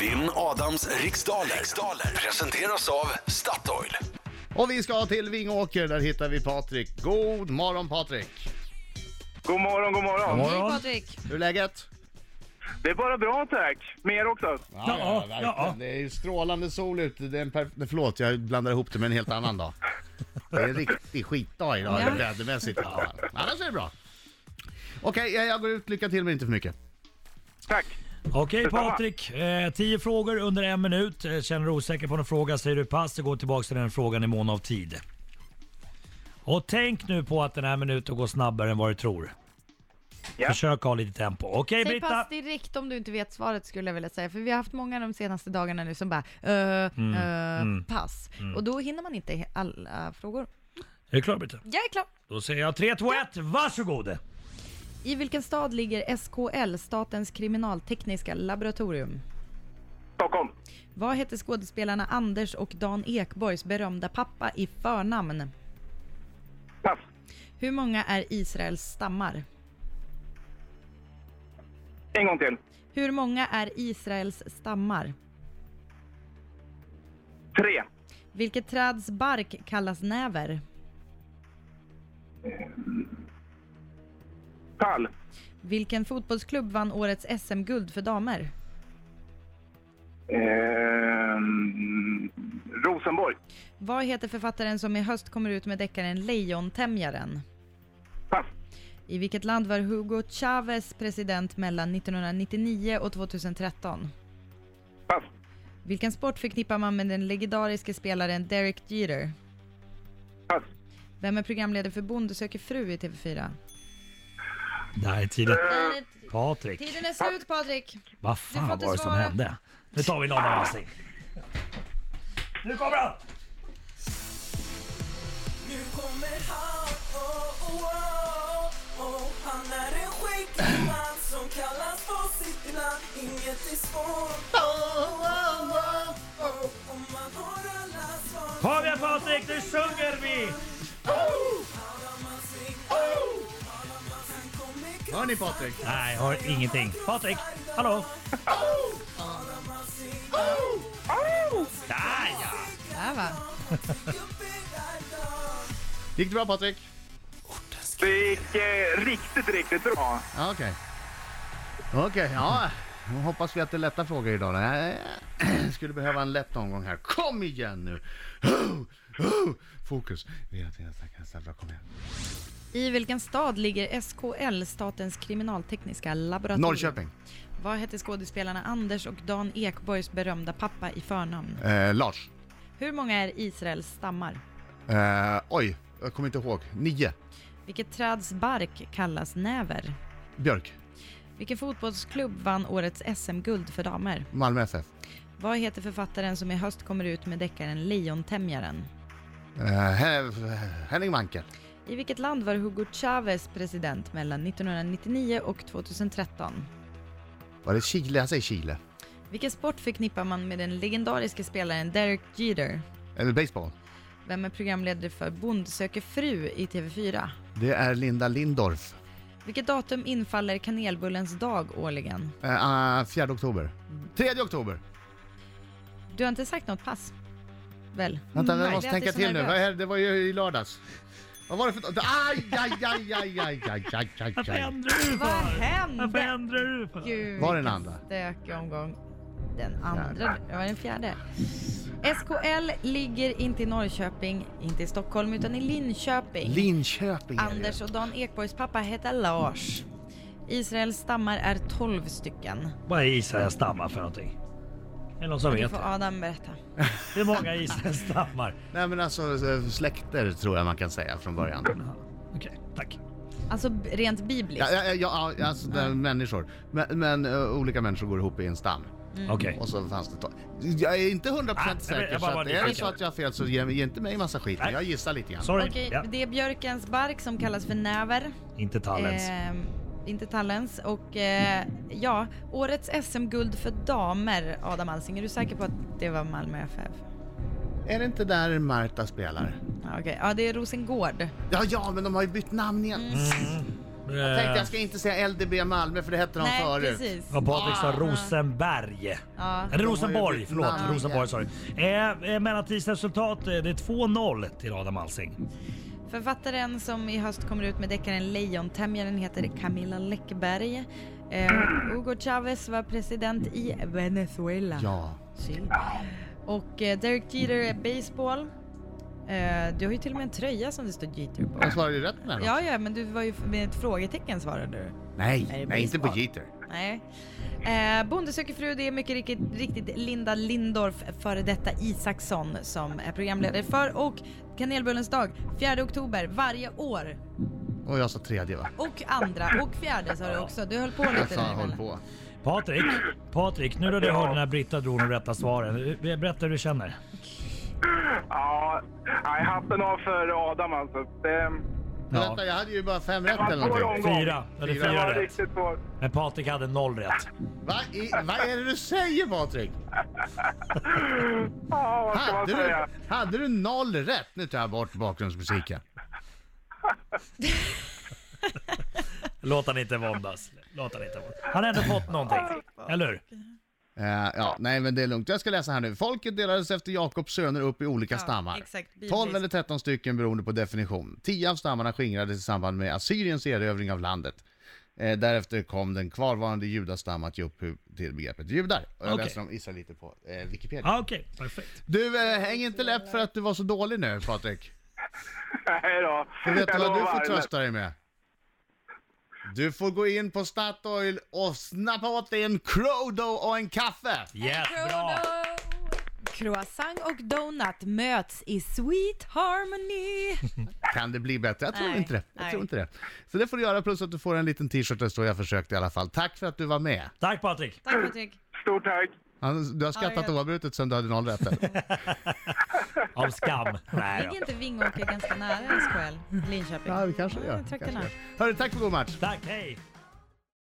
Vinn Adams riksdaler. riksdaler presenteras av Statoil. Och vi ska till Vingåker, där hittar vi Patrik. God morgon Patrik! God morgon, god morgon. Hej Patrik! Hur är läget? Det är bara bra tack. Mer också. Ja, ja, verkligen. ja. Det är ju strålande sol ute. Det är en perf- Nej, Förlåt, jag blandar ihop det med en helt annan dag. Det är en riktig skitdag idag, Ja. vädermässigt. Ja. Annars är det bra. Okej, jag- jag går ut. Lycka till men inte för mycket. Tack. Okej Detsamma. Patrik, eh, tio frågor under en minut. Eh, Känner du osäker på någon fråga säger du pass. Det går tillbaka till den frågan i mån av tid. Och tänk nu på att den här minuten går snabbare än vad du tror. Ja. Försök ha lite tempo. Okej Säg Britta! pass direkt om du inte vet svaret skulle jag vilja säga, för vi har haft många de senaste dagarna nu som bara uh, uh, pass. Och då hinner man inte he- alla frågor. Är du klar Britta? Jag är klar! Då säger jag 3, 2, 1, varsågod! I vilken stad ligger SKL, Statens kriminaltekniska laboratorium? Stockholm. Vad hette skådespelarna Anders och Dan Ekborgs berömda pappa i förnamn? Pass. Hur många är Israels stammar? En gång till. Hur många är Israels stammar? Tre. Vilket träds bark kallas näver? Pall. Vilken fotbollsklubb vann årets SM-guld för damer? Ehm, Rosenborg. Vad heter författaren som i höst kommer ut med deckaren Lejontämjaren? Pass. I vilket land var Hugo Chavez president mellan 1999 och 2013? Pass. Vilken sport förknippar man med den legendariske spelaren Derek Jeter? Pass. Vem är programledare för Bonde söker fru i TV4? Det här är tiden. Eh. Patrik, Tiden är slut Patrik! vad Du får fan inte var det som svara. hände? Nu tar vi någon avlastning. Nu kommer han! Nu kommer han, oh, oh, oh, oh. Han är en skäggig man som kallas på sitt namn Inget är svårt, oh, oh, oh, oh. Om man har alla svar Kom igen Patrik, nu sjunger vi! talar man sig oh. Talar man sig kommer krossa Hör ni Patrik? Nej, jag hör ingenting. Patrik, hallå? Talar man sig oh. Där ja! Där va? Gick det bra Patrik? Det gick eh, riktigt, riktigt bra. Ja, okej. Okej, ja. Då hoppas vi att det är lätta frågor idag. då. Jag skulle behöva en lätt omgång här. Kom igen nu! Fokus. Vi har tiden att kasta bra. Kom igen. I vilken stad ligger SKL, Statens kriminaltekniska laboratorium? Norrköping. Vad hette skådespelarna Anders och Dan Ekborgs berömda pappa i förnamn? Eh, Lars. Hur många är Israels stammar? Eh, oj, jag kommer inte ihåg. Nio. Vilket träds bark kallas näver? Björk. Vilken fotbollsklubb vann årets SM-guld för damer? Malmö FF. Vad heter författaren som i höst kommer ut med deckaren Lejontämjaren? Eh, Hen- Henning Mankel. I vilket land var Hugo Chavez president mellan 1999 och 2013? Var det Chile? Jag säger Chile. Vilken sport förknippar man med den legendariske spelaren Derek Jeter? Eller baseball. Vem är programledare för Bond söker fru i TV4? Det är Linda Lindorff. Vilket datum infaller kanelbullens dag årligen? Eh, eh, 4 oktober. 3 oktober. Du har inte sagt något pass? Väl? Vänta, jag Nej, måste Mm. det är tänka alltid så till nu. Vad nervös. är det? det var ju i lördags. Vad var det för... Aj, aj, aj, aj, aj, aj, aj, aj, Varför aj. ändrar du Vad för? Varför hände? ändrar du för? Gud, Var det den vilken andra? stökig omgång. Den andra, det var den fjärde. SKL ligger inte i Norrköping, inte i Stockholm, utan i Linköping. Linköping är det ju. Anders och Dan Ekborgs pappa heter Lars. Israels stammar är 12 stycken. Vad är Israels stammar för någonting? Är det någon som Det vet? får Adam berätta. Hur många Israels stammar? Nej men alltså eh, släkter tror jag man kan säga från början. Mm. Okej, tack. Alltså b- rent bibliskt. Ja, ja, ja, ja alltså det är människor. Men, men eh, olika människor går ihop i en stam. Okej. Och så fanns det... To- jag är inte 100% Ah, nej, men säker jag så bara var att, är det nyfiken. så att jag har fel så ge, ge inte mig massa skit. Men Nej. jag gissar lite grann. Sorry. Okej, Ja, det är björkens bark som kallas för näver. inte tallens. Ehm, inte tallens. Och eh, ja, årets SM-guld för damer, Adam Alsing. Är du säker på att det var Malmö FF? Är det inte där Marta spelar? Ja, Okej, ja det är Rosengård. Mm. Ja, ja, men de har ju bytt namn igen. Jag tänkte jag eh, ska inte säga LDB Malmö för det hette de Nej, förut. precis. vad Patrik sa, Rosenberg. Ja. Eller ju Rosenborg, bytt förlåt. namn. Rosenborg, sorry. Eh, eh, Mellantidsresultat, eh, det är 2-0 till Adam Alsing. Författaren som i höst kommer ut med deckaren Lejontämjaren heter Camilla Läckberg. Eh, Hugo Chavez var president i Venezuela. Ja. Sí. Och eh, Derek Jeter är baseball. Eh, du har ju till och med en tröja som det står Jeter på. Jag svarade ju rätt med den. Ja, ja, men du var ju med ett frågetecken svarade du. Är Nej, det nej inte på baseball? Jeter. Nej. Eh, Bonde söker fru, det är mycket riktigt, riktigt Linda Lindorff, före detta Isaksson, som är programledare för. Och Kanelbullens dag, 4 oktober varje år. Och jag sa tredje va? Och andra, och fjärde sa du också. Du höll på lite Jag sa där håll emellan. på. Patrik, Patrik, nu då du hörde när Britta drog de rätta svaren. eh, Berätta hur du känner. Ja, nej, hatten av för Adam alltså. Det, Men Ja. Vänta, jag hade ju bara fem rätt Ja, eller två någonting. gånger. Fyra. Ja, det är Fyra. det fyra var rätt. riktigt svårt. Men Patrik hade noll rätt. Va? I, vad är det du säger Patrik? Ja, vad ska man Hade du, säga? hade du noll rätt? Nu tar jag bort bakgrundsmusiken. Låt han inte våndas. Låt han inte våndas. Han har ändå fått någonting. Eller hur? Eh, ja, nej men det är lugnt. Jag ska läsa här nu. Folket delades efter Jakobs söner upp i olika Ja, stammar. exakt. Bibliskt. 12 eller 13 stycken beroende på definition. 10 av stammarna skingrades i samband med Assyriens erövring av landet. Eh, därefter kom den kvarvarande judastam att ge upphov till begreppet judar. Och jag Okej. läser om Israel lite på eh, Wikipedia. Ah, Okej, perfekt. Du, eh, häng inte läpp för att du var så dålig nu Patrik. Nej då. För vet du Jag vad du lovar, får men- trösta dig med? Du får gå in på Statoil och snappa åt dig en Crodo och en kaffe! Yes, bra! Croissant och donut möts i sweet harmony. Kan det bli bättre? Jag tror Nej, inte det. Jag nej. tror inte det. Så det får du göra, plus att du får en liten t-shirt där det står jag försökte i alla fall. Tack för att du var med. Tack Patrik! Tack Patrik. Stort tack. Han- Du har Ja, skrattat jag- oavbrutet sen du hade noll rätt. Av skam. Nej Ligger då. inte Vingåker ganska nära SKL? Linköping? Ja, det kanske det Ja, gör. trakterna. Kanske det gör. Hörru, tack för god match! Tack, hej!